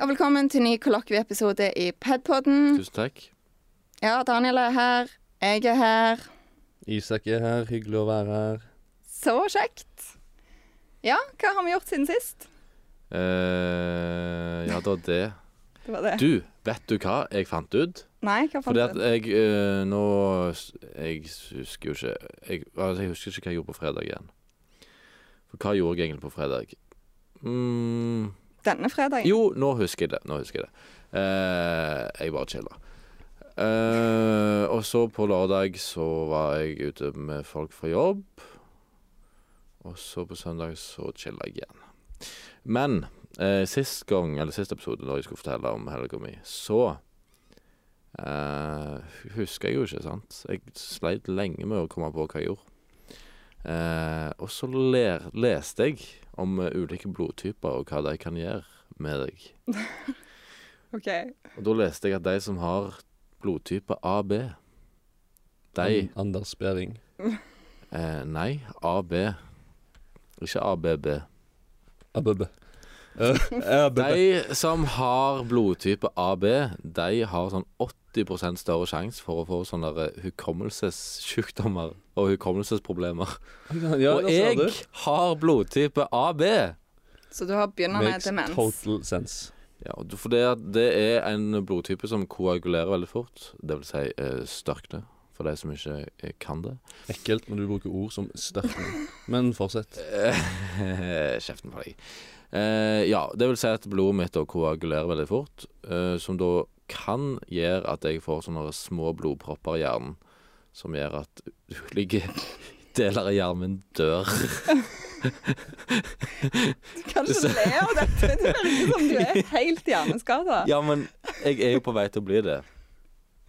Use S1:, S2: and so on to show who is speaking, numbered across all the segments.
S1: og velkommen til ny kollokvieepisode i Padpodden.
S2: Tusen takk.
S1: Ja, Daniel er her. Jeg er her.
S2: Isak er her, hyggelig å være her.
S1: Så kjekt. Ja, hva har vi gjort siden sist?
S2: Eh, ja, det var det.
S1: Det var det.
S2: Du, vet du hva jeg fant ut?
S1: Nei, hva fant
S2: Fordi at
S1: du?
S2: jeg eh, nå s- Jeg husker jo ikke jeg, altså, jeg husker ikke hva jeg gjorde på fredag igjen. For hva gjorde jeg egentlig på fredag? Mm,
S1: Denne fredagen?
S2: jo, nå husker jeg det. Nå husker jeg det. Eh, jeg bare chilla. Eh, og så på lørdag så var jeg ute med folk fra jobb. Og så på søndag så chilla jeg igjen. Men eh, sist gang, eller sist episode, da jeg skulle fortelle om helga mi, så eh, husker jeg jo ikke, sant. Jeg sleit lenge med å komme på hva jeg gjorde. Eh, og så ler, leste jeg om eh, ulike blodtyper og hva de kan gjøre med deg.
S1: OK.
S2: Og da leste jeg at de som har blodtype AB De
S3: An- Anders Behring.
S2: eh, Nei, AB. Ikke ABB.
S3: Abubbe. Eh, Abubbe.
S2: De som har blodtype AB, de har sånn 80 større sjanse for å få sånne der hukommelsessykdommer og hukommelsesproblemer.
S3: Ja,
S2: og
S3: der ser
S2: jeg
S3: du.
S2: har blodtype AB!
S1: Så du har begynnende
S3: Makes
S1: demens?
S3: total sense.
S2: Ja, og du- for det, at det er en blodtype som koagulerer veldig fort. Det vil si eh, størkne, for de som ikke eh, kan det.
S3: Ekkelt når du bruker ord som størkning. Men fortsett.
S2: Eh, Kjeften på deg. Eh, ja, det vil si at blodet mitt da koagulerer veldig fort, eh, som da kan gjøre at jeg får sånne små blodpropper i hjernen, som gjør at ulike deler av hjernen min dør.
S1: Kan du le av dette? Det virker som du er helt hjerneskada.
S2: Ja, men jeg er jo på vei til å bli det.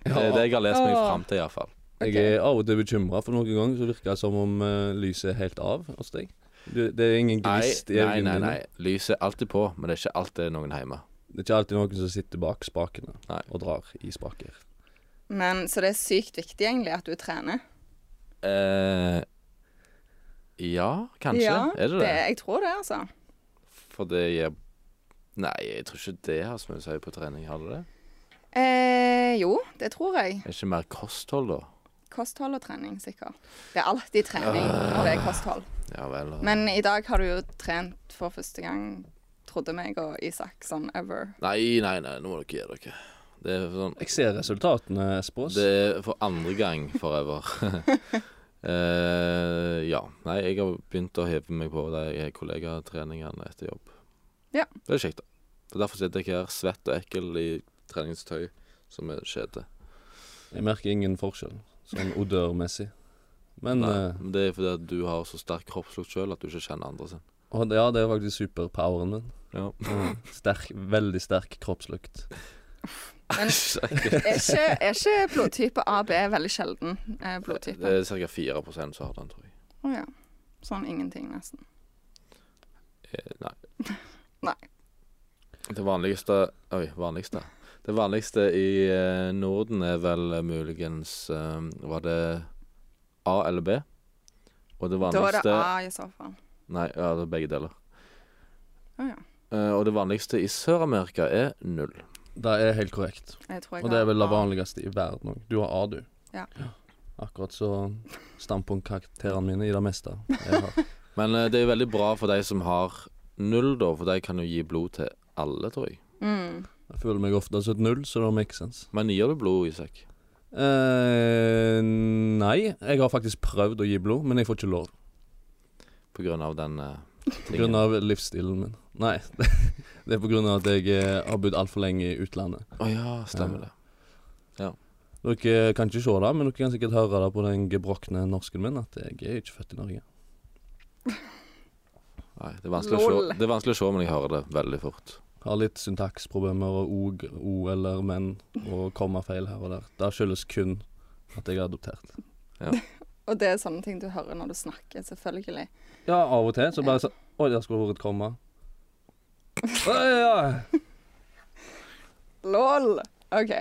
S2: Det er det jeg har lest meg
S1: Åh.
S2: fram til, iallfall.
S3: Jeg er av og til bekymra, for noen ganger så virker det som om eh, lyset er helt av hos deg. Du, det er ingen
S2: Nei,
S3: gnist i
S2: nei, nei,
S3: øynene.
S2: nei. Lyset er alltid på, men det er ikke alltid noen hjemme.
S3: Det er ikke alltid noen som sitter bak spakene
S2: Nei.
S3: og drar i spaker.
S1: Men så det er sykt viktig egentlig at du trener.
S2: Eh, ja, kanskje.
S1: Ja,
S2: er det det?
S1: Jeg tror det, altså.
S2: For det gir Nei, jeg tror ikke det har så mye å si på trening. Har det det?
S1: Eh, jo, det tror jeg.
S2: Er ikke mer kosthold, da?
S1: Kosthold og trening, sikkert. Det er alltid trening når det er kosthold.
S3: Ah.
S2: Ja vel. da.
S1: Men i dag har du jo trent for første gang, trodde meg og Isak, sånn ever.
S2: Nei, nei, nei, nå må dere gi dere. Det er sånn
S3: Jeg ser resultatene, Espås.
S2: Det er for andre gang forever. eh, ja. Nei, jeg har begynt å heve meg på de kollegatreningene etter jobb.
S1: Ja.
S2: Det er kjekt, da. Det er derfor sitter jeg her svett og ekkel i treningstøy som er skjede.
S3: Jeg merker ingen forskjell, sånn odørmessig. Men
S2: Nei,
S3: eh,
S2: men det er fordi at du har så sterk kroppslukt sjøl at du ikke kjenner andre sin.
S3: og det- ja, det er faktisk superpoweren min.
S2: Ja.
S3: Mm. Sterk, veldig sterk kroppslukt.
S1: Men er ikke, er ikke blodtype AB veldig sjelden eh,
S2: Det
S1: blodtype?
S2: er ca. 4 som har den, tror jeg.
S1: Å ja. Sånn ingenting, nesten.
S2: Eh, Nei.
S1: Nei.
S2: Det vanligste Oi, vanligste. Det vanligste i eh, Norden er vel eh, muligens eh, Var det A eller B? Og det
S1: Da er
S2: vanligste
S1: det A i så fall.
S2: Nei, ja, det er begge deler.
S1: Å ja.
S2: Eh, og det vanligste i Sør-Amerika er null.
S3: Det er helt korrekt.
S1: Jeg tror jeg
S3: Og det er
S1: har
S3: vel det
S1: A.
S3: vanligste i verden òg. Du har A, du.
S1: Ja.
S3: Akkurat så standpunktkarakterene mine i det meste. Jeg har.
S2: Men eh, det er jo veldig bra for de som har null, da, for de kan jo gi blod til alle, tror jeg.
S1: Mm.
S3: Jeg føler meg ofte som et null, så det makes sense.
S2: Men gir du blod, Isak?
S3: Eh, nei, jeg har faktisk prøvd å gi blod, men jeg får ikke lov.
S2: På grunn av den eh,
S3: På grunn av livsstilen min. Nei, det er på grunn av at jeg eh, har bodd altfor lenge i utlandet.
S2: Å ja, stemmer det.
S3: Dere kan ikke se det, men dere kan sikkert høre det på den gebrokne norsken min at jeg er ikke født i Norge.
S2: Nei, det, er vanskelig å
S1: Lol.
S2: se, det er vanskelig å se, men jeg hører det veldig fort.
S3: Har litt syntaksproblemer og og, o eller men og kommafeil her og der. Det skyldes kun at jeg er adoptert.
S1: Og det er sånne ting du hører når du snakker, selvfølgelig.
S3: Ja, av og til så bare sånn Oi, der skulle vært et komma. Oi, ja.
S1: LOL! OK.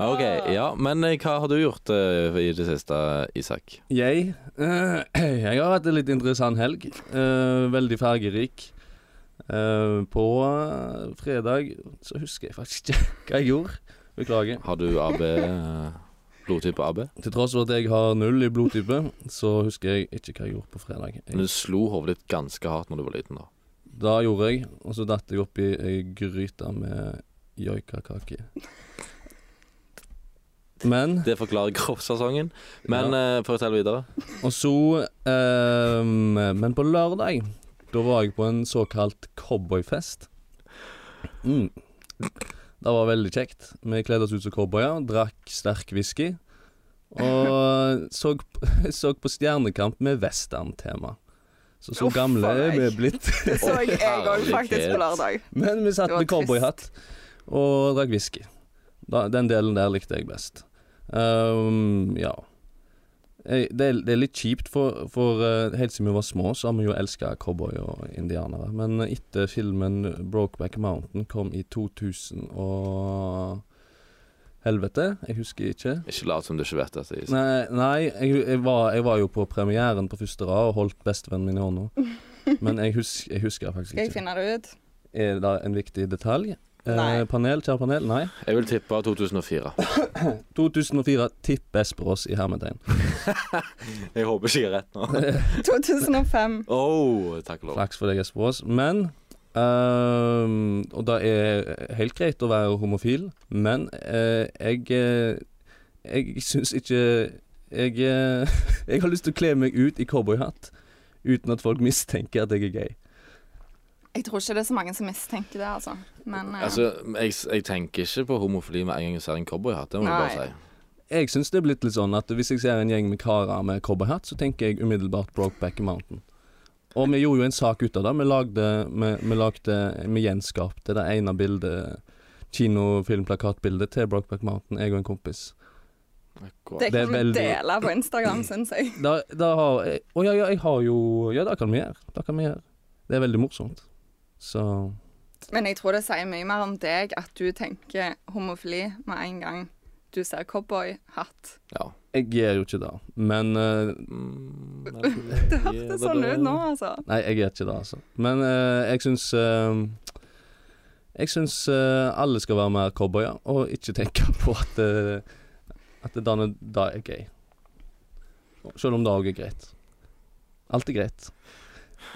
S2: Ah, Ok, ja, men eh, hva har du gjort eh, i det siste, Isak?
S3: Jeg eh, Jeg har hatt en litt interessant helg. Eh, veldig fargerik. Eh, Eh, på eh, fredag så husker jeg faktisk ikke hva jeg gjorde. Beklager.
S2: Har du AB eh, Blodtype AB?
S3: Til tross for at jeg har null i blodtype, så husker jeg ikke hva jeg gjorde på fredag.
S2: Men
S3: Jeg,
S2: du slo hodet ditt ganske hardt når du var liten, da.
S3: da gjorde jeg, og så datt jeg oppi ei gryte med joikakake. Men
S2: Det forklarer kroppsfasongen. Men eh, fortell videre.
S3: Og så ehm, Men på lørdag, da var jeg på en såkalt cowboyfest. Mm. Det var veldig kjekt. Vi kledde oss ut som cowboyer, drakk sterk whisky. Og så, p- så på Stjernekamp med westerntema. Så så
S1: Uff,
S3: gamle
S1: faen,
S3: er vi
S1: jeg.
S3: blitt.
S1: Det så jeg jeg òg
S2: herlighet.
S1: faktisk på lørdag.
S3: Men vi
S1: Det
S3: satt
S1: var
S3: med
S1: trist.
S3: cowboyhatt og drakk whisky. Da, den delen der likte jeg best. Ehm, ja. Jeg, det, er, det er litt kjipt, for, for eh, helt siden vi var små, så har vi jo elska cowboy og indianere. Men etter filmen 'Brokeback Mountain' kom i 2000 og Helvete, jeg husker ikke.
S2: Ikke lat som du ikke vet dette. Isak.
S3: Nei, nei jeg, jeg, var, jeg var jo på premieren på første rad og holdt bestevennen min i hånda. Men jeg, hus, jeg husker faktisk
S1: Skal
S3: ikke.
S1: jeg finne det ut?
S3: Er det da en viktig detalj?
S1: Nei.
S3: Eh, panel, kjære panel, nei.
S2: Jeg vil tippe 2004.
S3: 2004, tipp Esperås i hermetegn.
S2: Jeg håper ikke jeg er rett nå.
S1: 2005.
S2: Oh, takk og lov.
S3: Flaks for deg, Esperås. Men ehm, Og det er helt greit å være homofil, men eh, jeg eh, Jeg syns ikke jeg, eh, jeg har lyst til å kle meg ut i cowboyhatt uten at folk mistenker at jeg er gay.
S1: Jeg tror ikke det er så mange som mistenker det, altså. Men eh,
S2: Altså, jeg, jeg tenker ikke på homofili med en gang jeg ser en cowboyhatt. Det må du
S1: Nei.
S2: bare si.
S3: Jeg syns det er blitt litt sånn at hvis jeg ser en gjeng med karer med cowboyhatt, så tenker jeg umiddelbart Brokeback Mountain. Og vi gjorde jo en sak ut av det. Vi lagde Vi, vi, lagde, vi gjenskapte det ene bildet, kinofilmplakatbildet, til Brokeback Mountain, jeg og en kompis.
S2: Akkurat.
S1: det
S3: det er
S1: kan vi
S3: veldig-
S1: dele på Instagram, syns jeg.
S3: Da, da har jeg Å ja, ja, jeg har jo Ja, det kan vi gjøre. Det kan vi gjøre. Det er veldig morsomt. Så
S1: Men jeg tror det sier mye mer om deg at du tenker homofili med en gang du ser cowboyhatt.
S2: Ja.
S3: Jeg gjør jo ikke det. Men eh,
S2: Mm,
S1: Det hørtes sånn ut nå, altså.
S3: Nei, jeg gjør ikke det, altså. Men eh, jeg syns eh, Jeg syns eh, alle skal være mer cowboyer, og ikke tenke på at eh, At det danner da er gøy. Selv om det òg er greit. Alt er greit.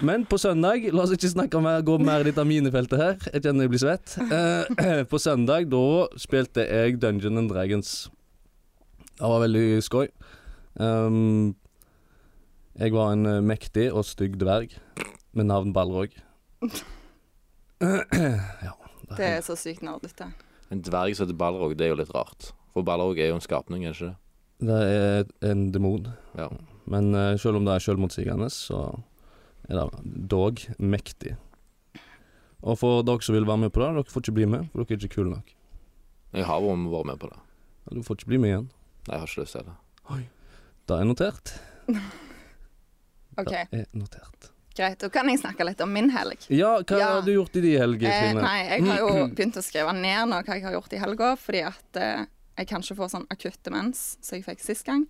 S3: Men på søndag La oss ikke snakke mer, gå mer i dette minefeltet her. Jeg kjenner jeg blir svett. Eh, på søndag da spilte jeg Dungeon and Dragons. Det var veldig skøy. Um, jeg var en eh, mektig og stygg dverg med navn Balrog. ja, det
S1: Det er så sykt nerdete.
S2: En dverg som heter Balrog, det er jo litt rart. For Balrog er jo en skapning, er det ikke det?
S3: Det er en demon.
S2: Ja.
S3: Men eh, selv om det er selvmotsigende, så er det dog mektig. Og for dere som vil være med på det, dere får ikke bli med, for dere er ikke kule nok.
S2: Jeg har vært vært med på det.
S3: Du får ikke bli med igjen.
S2: Nei, jeg har ikke lyst til det.
S3: Det er notert.
S1: OK,
S3: Det er notert.
S1: greit. Da kan jeg snakke litt om min helg.
S3: Ja, hva
S1: Ja.
S3: har du gjort i de helger,
S1: Eh,
S3: Trine?
S1: nei, jeg har jo begynt å skrive ned nå hva jeg har gjort i helga, fordi at eh, jeg kanskje får sånn akutt demens som jeg fikk sist gang.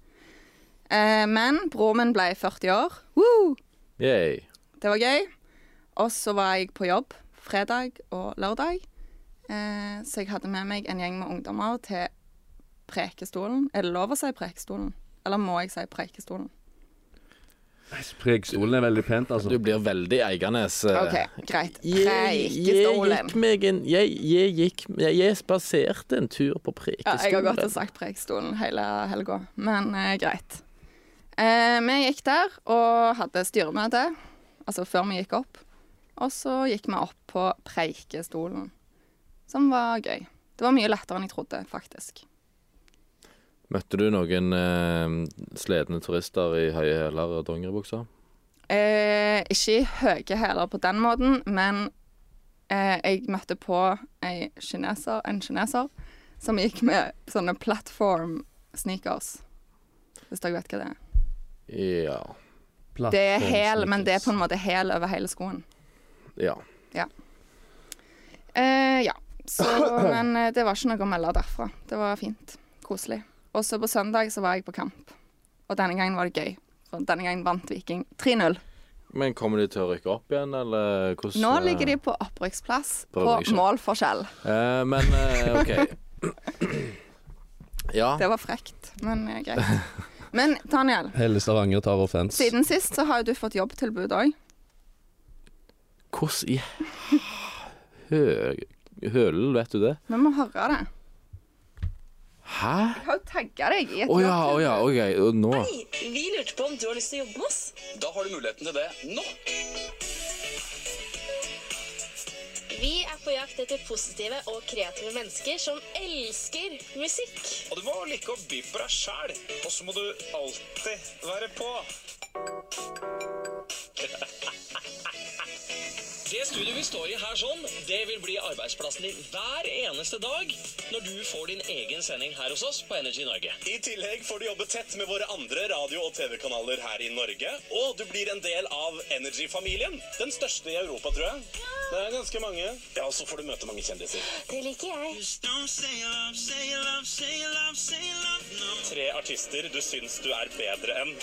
S1: Eh, men broren min ble 40 år. Woo!
S2: Yay.
S1: Det var gøy. Og så var jeg på jobb fredag og lørdag. Eh, så jeg hadde med meg en gjeng med ungdommer til Prekestolen. Er det lov å si Prekestolen? Eller må jeg si Prekestolen?
S3: Prekstolen er veldig pent,
S2: Du
S3: altså.
S2: blir veldig Eiganes. eh.
S1: OK, greit.
S2: Jeg, jeg
S1: Prekestolen.
S2: gikk meg en Jeg, jeg gikk Jeg, jeg spaserte en tur på
S1: Ja,
S2: Prekestolen.
S1: jeg har godt og sagt Prekestolen hele helga, men eh, greit. Eh, vi gikk der og hadde styremøte, altså før vi gikk opp. Og så gikk vi opp på Preikestolen, som var gøy. Det var mye lettere enn jeg trodde, faktisk.
S2: Møtte du noen eh, sledne turister i høye hæler og dongeribukser?
S1: Eh, ikke i høye hæler på den måten, men eh, jeg møtte på ei kineser, en kineser som gikk med sånne platform sneakers. Hvis dere vet hva det er.
S2: Ja.
S1: Det er hæl, men det er på en måte hæl over hele skoen.
S2: Ja.
S1: Eh, ja. Så, men eh, det var ikke noe å melde derfra. Det var fint. Koselig. Og så på søndag så var jeg på kamp. Og denne gangen var det gøy. For denne gangen vant Viking 3-0.
S2: Men kommer de til å rykke opp igjen, eller hvordan
S1: Nå ligger de på opprykksplass på
S2: På opprykksplass.
S1: målforskjell.
S2: Eh, Men eh, OK. Ja.
S1: Det var frekt, men eh, greit. Men Daniel,
S3: Hele Stavanger tar offens.
S1: siden sist så har jo du fått jobbtilbud òg.
S2: Hvordan i hø- Hølen, vet du det?
S1: Vi må høre det.
S2: Hæ?
S1: Jeg har jo tagga deg i et
S2: Å ja, å ja, OK. Og nå
S4: Vi lurte på om du har lyst til å jobbe med oss.
S5: Da har du muligheten til det nå.
S6: Vi er på jakt etter positive og kreative mennesker som elsker musikk.
S5: Og du må like å by på deg sjæl. Og så må du alltid være på. Det studioet vi står i her sånn, det vil bli arbeidsplassen din hver eneste dag når du får din egen sending her hos oss på Energy Norge. I tillegg får du jobbe tett med våre andre radio- og TV-kanaler her i Norge. Og du blir en del av Energy-familien. Den største i Europa, tror jeg. Det er ganske mange. Ja, og så får du møte mange kjendiser.
S6: Det liker jeg.
S5: Tre artister du syns du er bedre enn.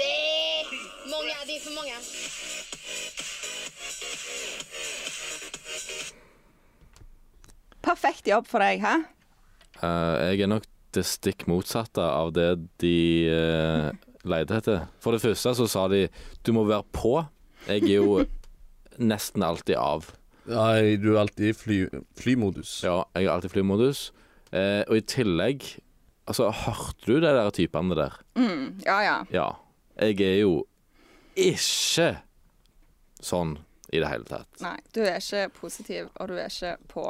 S6: Nei, mange er de for mange.
S1: Perfekt jobb for deg, hæ?
S2: Eh, jeg er nok det stikk motsatte av det de uh, leide etter. For det første så sa de du må være på. Jeg er jo nesten alltid av.
S3: Nei, du er alltid i fly, flymodus.
S2: Ja, jeg er alltid i flymodus. Eh, og i tillegg Altså, hørte du de der typene der?
S1: Ja ja.
S2: Ja. Jeg er jo ikke sånn i det hele tatt.
S1: Nei, du er ikke positiv, og du er ikke på,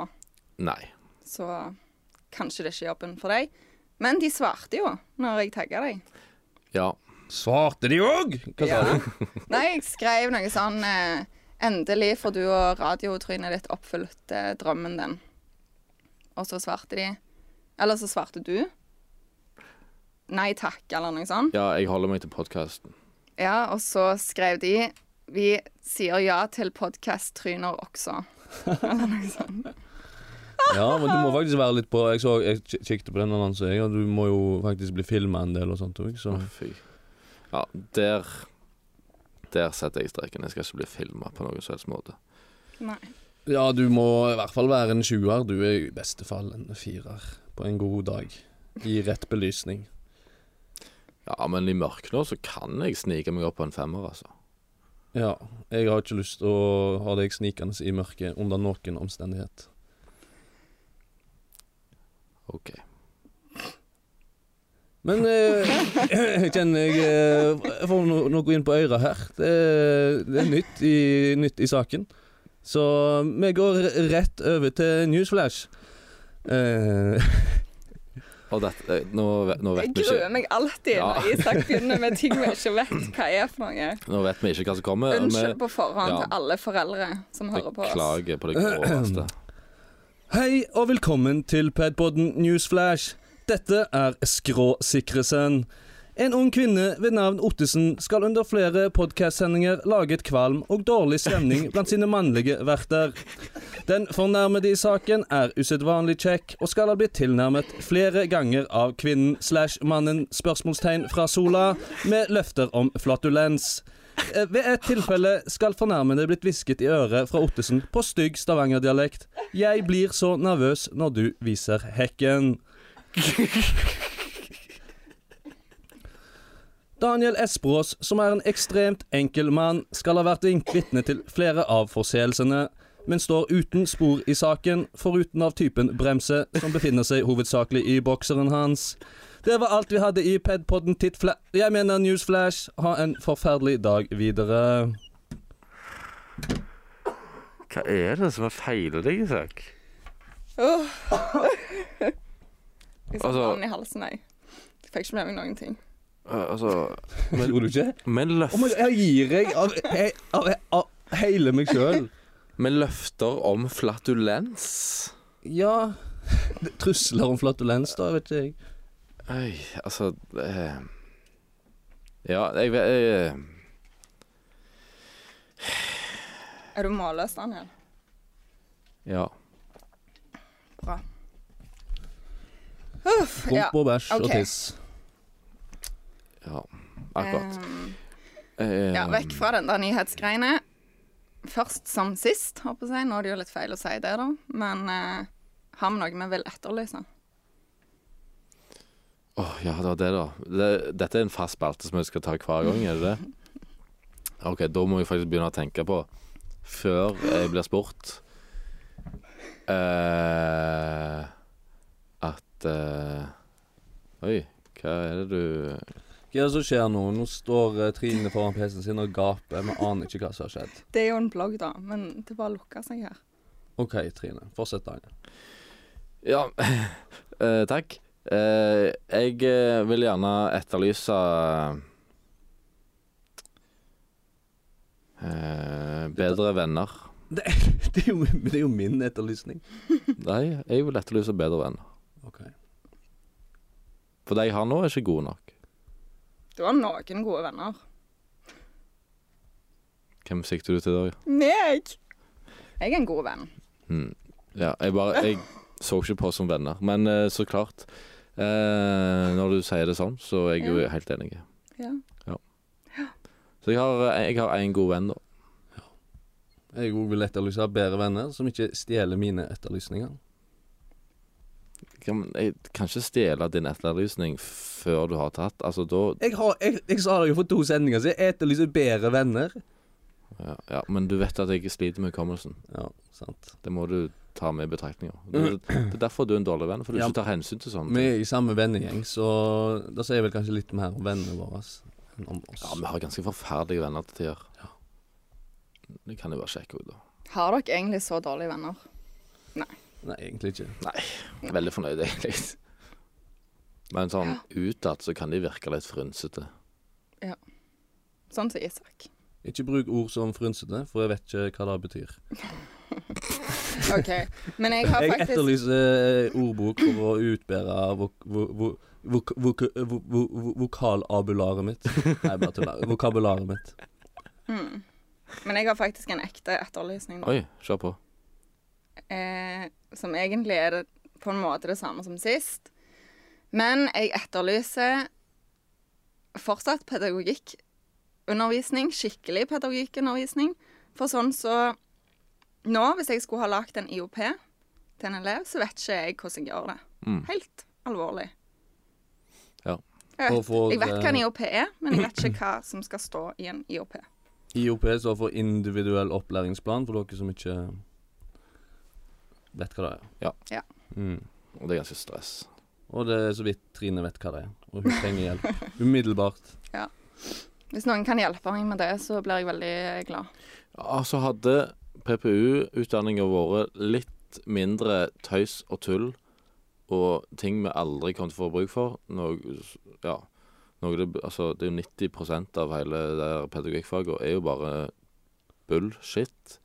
S2: Nei.
S1: så kanskje det er ikke jobben for deg. Men de svarte jo når jeg tagga deg.
S2: Ja.
S3: Svarte de òg?! Hva sa
S1: Ja.
S3: du?
S1: Nei, jeg skrev noe sånn eh, Endelig får du og radiotrynet ditt oppfylt eh, drømmen din. Og så svarte de Eller så svarte du. Nei takk, eller noe sånt.
S2: Ja, jeg holder meg til podkasten.
S1: Ja, og så skrev de Vi sier ja til podkast-tryner også. Eller noe sånt.
S3: Ja, men du må faktisk være litt på Jeg, så, jeg kik- kikket på den annonsen, jeg, og du må jo faktisk bli filma en del og sånt òg, så
S2: Fy. Ja, der Der setter jeg streken. Jeg skal ikke bli filma på noen som helst måte.
S1: Nei.
S3: Ja, du må i hvert fall være en sjuer. Du er i beste fall en firer på en god dag. I rett belysning.
S2: Ja, men i mørket nå så kan jeg snike meg opp på en femmer, altså.
S3: Ja, jeg har ikke lyst til å ha deg snikende i mørket under noen omstendighet.
S2: OK.
S3: Men eh, jeg kjenner jeg eh, får no noe inn på øret her. Det, det er nytt i, nytt i saken. Så vi går rett over til newsflash. Eh,
S2: Og dette eh, Nå, ve- nå,
S1: Jeg
S2: vet vi
S1: gruer
S2: ikke,
S1: meg alltid
S2: Ja.
S1: når Isak begynner med ting vi ikke vet hva er for noe.
S2: nå vet vi ikke hva som kommer. og
S1: Unnskyld på forhånd
S2: ja.
S1: til alle foreldre som hører på oss.
S2: Beklager på det groveste.
S3: Hei og velkommen til Padpodden Newsflash. Dette er Skråsikresen. En ung kvinne ved navn Ottesen skal under flere podkastsendinger lage et kvalm og dårlig stemning blant sine mannlige verter. Den fornærmede i saken er usedvanlig kjekk og skal ha blitt tilnærmet flere ganger av kvinnen slash mannen spørsmålstegn fra Sola med løfter om flatulens. Eh, Ved et tilfelle skal fornærmede blitt hvisket i øret fra Ottesen på stygg stavangerdialekt. Jeg blir så nervøs når du viser hekken. Daniel Espros, som er en ekstremt enkel mann, skal ha vært vitne til flere av forseelsene, men står uten spor i saken, foruten av typen bremse, som befinner seg hovedsakelig i bokseren hans. Det var alt vi hadde i E Pedpodden Tittfla... Jeg mener Newsflash. Ha en forferdelig dag videre.
S2: Hva er det som er feiler deg, Isak?
S1: Åh. Jeg satte
S2: Altså-
S1: hånden i halsen, jeg. Jeg fikk ikke med meg noen ting.
S2: Altså
S3: Gjorde du ikke?
S2: Men,
S1: Oh
S2: løft,
S3: jeg gir jeg av, jeg- av, av hele meg sjøl.
S2: men løfter om flatulens?
S3: Ja det- Trusler om flatulens, da, vet ikke jeg.
S2: Øy, altså eh, Ja, jeg vet jeg, eh,
S1: Er du målløs, Daniel?
S2: Ja.
S1: Bra.
S3: Rumpe og bæsj og
S1: ok.
S3: tiss.
S2: Ja, akkurat.
S1: Ehm,
S2: Eh,
S1: Ja, vekk fra den der nyhetsgreiene. Først som sist, håper jeg. Nå er det jo litt feil å si det, da. Men eh, har vi noe vi vil etterlyse?
S2: Åh, ja, det var det, da. Det, dette er en fast spalte som vi skal ta hver gang, er det det? OK, da må jeg faktisk begynne å tenke på, før jeg blir spurt eh, At eh, Oi, hva er det du
S3: Hva er det som skjer nå? Nå står eh, Trine foran PC-en sin og gaper. Vi aner ikke hva som har skjedd.
S1: Det er jo en blogg, da, men det bare lukker seg her.
S3: OK, Trine. Fortsett, Daniel.
S2: Ja, eh, takk. Eh, jeg eh, vil gjerne etterlyse eh, Bedre venner.
S3: Det, det, er jo, det er jo min etterlysning.
S2: Nei, jeg vil etterlyse bedre venner.
S3: OK.
S2: For de jeg har nå, er ikke gode nok.
S1: Du har noen gode venner.
S2: Hvem sikter du til da?
S1: Meg! Jeg er en god venn.
S2: Hmm. Ja, jeg bare Jeg så ikke på som venner, men eh, så klart. Eh, når du sier det sånn, så er jeg jo helt enig.
S1: Ja.
S2: Så jeg har, eh, jeg har en god venn, da.
S3: Jeg òg vil etterlyse bedre venner som ikke stjeler mine etterlysninger.
S2: Ja, men Jeg kan ikke stjele din etterlysning før du har tatt. Altså, da
S3: Jeg, har, jeg, jeg sa det jo for to sendinger siden. Jeg etterlyser bedre venner.
S2: ja, ja, Men du vet at jeg sliter med hukommelsen.
S3: Ja, sant.
S2: Det må du ta med i betraktninga. Det, det er derfor du er en dårlig venn, for du
S3: Mm. Ja.
S2: ikke tar hensyn til sånne
S3: Vi
S2: ting.
S3: er i samme vennegjeng, så da sier jeg vel kanskje litt mer om vennene våre enn om oss.
S2: Ja, vi har ganske forferdelige venner til tider. Det kan jo bare sjekke ut, da.
S1: Har dere egentlig så dårlige venner?
S3: Nei, egentlig ikke.
S2: Nei, veldig fornøyd egentlig. Men sånn utad så kan de virke litt frynsete.
S1: Sånn som Isak.
S3: Ikke bruk ord som frynsete, for jeg vet ikke hva det betyr.
S1: OK. Men jeg har
S3: Jeg
S1: faktisk
S3: etterlyser eh, ordbok for å utbære vok vo- vo- vok vok vo- vo- vo- vokalabularet mitt. Nei, bare tuller. Vokabularet mitt.
S1: Men jeg har faktisk en ekte etterlysning, da.
S2: Oi, kjør på.
S1: Eh, som egentlig er det på en måte det samme som sist. Men jeg etterlyser fortsatt pedagogikkundervisning, skikkelig pedagogikkundervisning. For sånn så Nå, hvis jeg skulle ha lagd en IOP til en elev, så vet ikke jeg hvordan jeg gjør det.
S2: Mm.
S1: Helt alvorlig.
S2: Ja.
S1: Jeg
S3: Og
S1: vet,
S3: for-
S1: jeg vet hva en IOP er, men jeg vet ikke hva som skal stå i en IOP.
S3: IOP står for individuell opplæringsplan, for dere som ikke vet hva det er.
S2: Ja.
S1: Ja.
S3: Mm.
S2: Og det er ganske stress.
S3: Og det er så vidt Trine vet hva det er, og hun trenger hjelp umiddelbart.
S1: Hvis noen kan hjelpe meg med det, så blir jeg veldig glad.
S2: Ja, så hadde PPU-utdanninga vært litt mindre tøys og tull og ting vi aldri kom til å få bruk for. Noe, ja, noe det, altså, det er jo 90 av hele det her pedagogikkfaget er jo bare bullshit.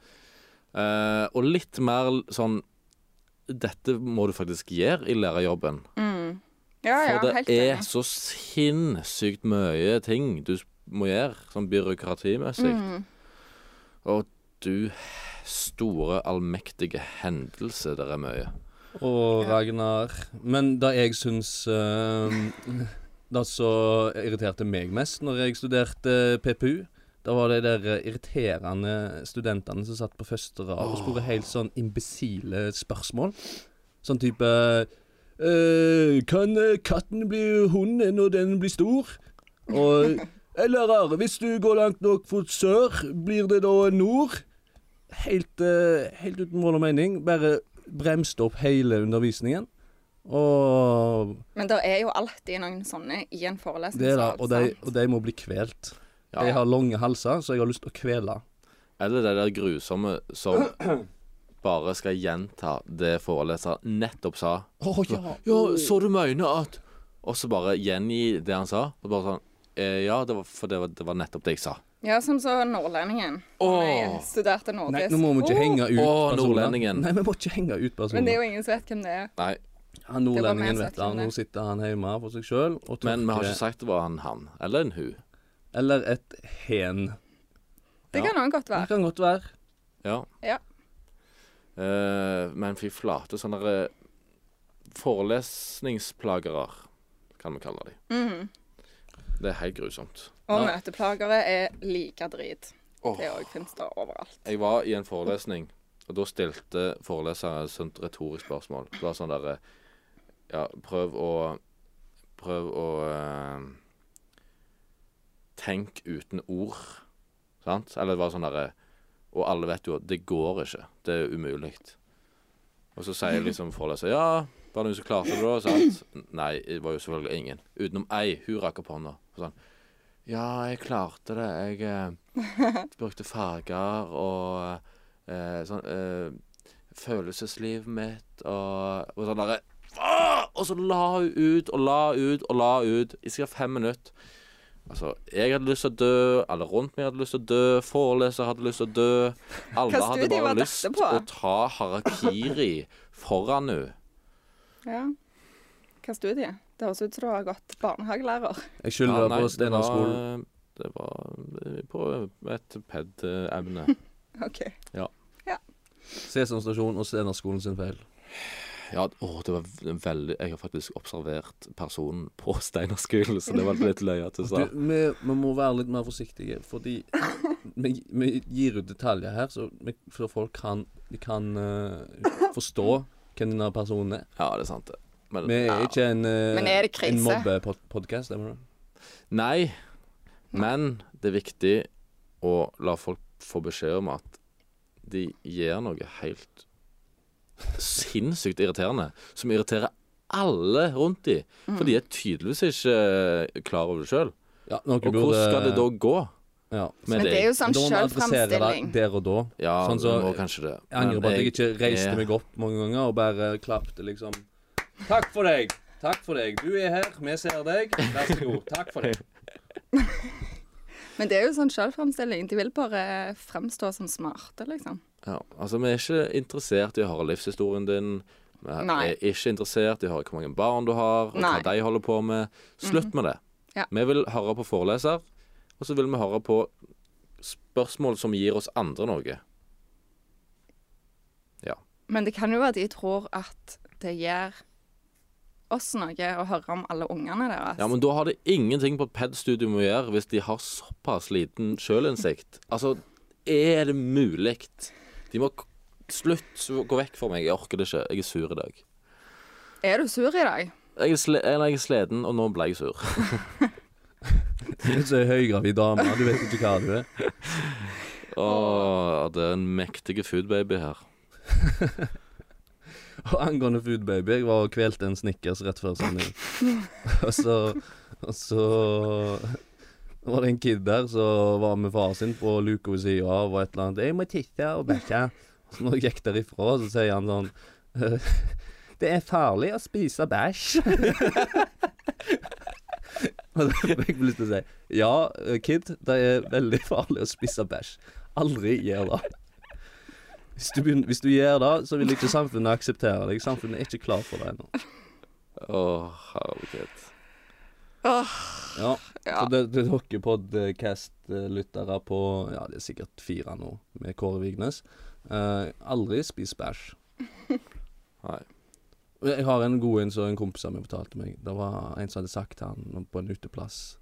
S2: Eh, og litt mer sånn Dette må du faktisk gjøre i lærerjobben.
S1: Ja, ja,
S2: For
S1: helt
S2: det er
S1: enig.
S2: så sinnssykt mye ting du s- må gjøre, sånn byråkratimessig. Og du store, allmektige hendelse der er mye.
S3: Og Ragnar Men det jeg syns eh, Det som irriterte meg mest når jeg studerte PPU, da var de der irriterende studentene som satt på første rad og spurte helt sånn imbesile spørsmål. Sånn type eh, Kan eh, katten bli hund når den blir stor? Og Eller hvis du går langt nok mot sør, blir det da nord? helt, eh, helt uten mål og mening. Bare bremste opp hele undervisningen. Og
S1: Men det er jo alltid noen sånne i en forelesning.
S3: det er da, og, de, og de må bli kvelt. De har lange halser, så jeg har lyst til å kvele.
S2: Eller det der grusomme som bare skal gjenta det foreleseren nettopp sa.
S3: Å ja.
S2: Ja, så du mener at Og så bare gjengi det han sa. Og bare sånn eh, Ja, det var, for det var, det var nettopp det jeg sa.
S1: Ja, som så nordlendingen.
S2: Åh.
S1: Når jeg studerte
S3: Nei,
S1: nordisk.
S3: nå må vi ikke
S1: Åh,
S3: henge ut
S2: Å,
S3: personer.
S2: nordlendingen.
S3: Nei, vi må ikke henge ut
S1: Men det er
S3: personer.
S1: jo ingen som vet hvem det er.
S2: Nei,
S3: Han
S1: Det var
S3: nordlendingen
S1: meg
S3: vet
S1: som
S3: han,
S1: sa det.
S3: nå sitter han hjemme for seg sjøl og
S2: men vi har
S3: tørker-
S2: ikke sagt det var en han eller en hun.
S3: Eller et hen.
S1: Det kan også godt
S3: Det
S1: være.
S3: kan godt være.
S2: Ja.
S1: Ja.
S2: Eh, men fy flate, sånne der eh, forelesningsplagere, kan vi kalle dem. Det er helt grusomt.
S1: Og
S3: Ja.
S1: møteplagere er like drit.
S2: Åh.
S1: Det òg finnes det overalt.
S2: Jeg var i en forelesning, og da stilte foreleseren et sånt retorisk spørsmål. Det var sånn derre Ja, prøv å Prøv å eh, Tenk uten ord. Sant? Eller det var sånn derre Og alle vet jo at det går ikke. Det er umulig. Og så sier liksom foreleser Ja, var det noen som klarte det, da? Sant? Nei, det var jo selvfølgelig ingen. Utenom ei. Hun rakk opp hånda. Sånn. Ja, jeg klarte det. Jeg eh, brukte farger og eh, sånn eh, Følelseslivet mitt og, og sånn derre «Åh!» Og så la hun ut og la ut og la ut i ca. fem minutter. Altså, jeg hadde lyst til å dø, alle rundt meg hadde lyst til å dø, foreleser hadde lyst til å dø. Alle
S1: Hva
S2: hadde
S1: studie
S2: bare
S1: var dette
S2: lyst til
S1: på?
S2: å ta harakiri foran henne.
S1: Ja. Hva studie? Det høres ut som du har gått barnehagelærer.
S3: Jeg skylder
S2: nei,
S3: på Steinerskolen.
S2: Det var, det var på et eh, PED-emne.
S1: OK.
S3: Sesam stasjon og Steinerskolen sin feil.
S2: Ja, å, det var en veldig Jeg har faktisk observert personen på Steinerskolen, så det var litt løye at du
S3: Du,
S2: sa
S3: vi, vi må være litt mer forsiktige, fordi vi, vi gir ut detaljer her, så, vi, så folk kan, de kan eh, forstå hvem denne personen er.
S2: Ja, det er sant, det. Men
S3: Vi er ikke en, eh,
S1: Men er det krise?
S3: en mobbepodkast, stemmer det?
S2: Nei. Men det er viktig å la folk få beskjed om at de gjør noe helt sinnssykt irriterende, som irriterer alle rundt de.
S3: Mm.
S2: For de er tydeligvis ikke eh, klar over det sjøl.
S3: Ja, noe
S2: Og hvordan
S3: burde-
S2: skal det da gå
S3: ja.
S2: med
S1: Men det er
S2: deg?
S1: jo sånn
S3: Da må vi adressere
S1: sjølframstilling.
S3: det der og da.
S2: Ja,
S3: sånn så-
S2: du må kanskje det.
S3: Jeg angrer
S2: Men
S3: på at jeg ikke reiste
S2: er-
S3: meg opp mange ganger og bare klapte liksom Takk for deg! Takk for deg. Du er her, vi ser deg. Vær så god. Takk for deg.
S1: Men det er jo sånn sjølframstilling. De vil bare fremstå som smarte, liksom.
S2: Ja, altså Vi er ikke interessert i å høre livshistorien din. Vi er
S1: Nei.
S2: ikke interessert i å høre hvor mange barn du har, og hva
S1: Nei. Mhm.
S2: de holder på med. Slutt med det.
S1: Ja.
S2: Vi vil høre på foreleser, og så vil vi høre på spørsmål som gir oss andre noe. Ja.
S1: Men det kan jo være de tror at det gjør oss noe å høre om alle ungene deres.
S2: ja, Men da har det ingenting på et PED-studio med å gjøre hvis de har såpass liten sjølinnsikt. Altså, er det mulig? De må k- Slutt, gå vekk fra meg. Jeg orker det ikke. Jeg er sur i dag.
S1: Er du sur i dag?
S2: Jeg er, sle eller jeg er sliten, og nå ble jeg sur.
S3: Så er høygravid dame, du vet ikke hva du er.
S2: Åh, det er en mektig foodbaby her.
S3: Og angående Food Baby, jeg var og kvelte en snickers rett før sending. og så Og så var det en kid der som var med far sin på luka ved sida av og et eller annet 'Jeg må tisse og bæsje'. Så når jeg gikk derifra, så sier han sånn «Eh, 'Det er farlig å spise bæsj'. Og da fikk jeg lyst til å si 'Ja, eh, kid, det er veldig farlig å spise bæsj'. Aldri gjør det. Hvis du, begynner, hvis du gjør det, så vil ikke samfunnet akseptere deg. Samfunnet er ikke klar for det ennå.
S2: Åh, herlighet.
S1: Åh,
S3: Ja.
S1: ja.
S3: Så det, det er dere podcast-lyttere på Ja, det er sikkert fire nå, med Kåre Vignes. Eh, aldri spis bæsj.
S2: Nei.
S3: Jeg har en god en som en kompis av meg fortalte meg. Det var en som hadde sagt til han på en uteplass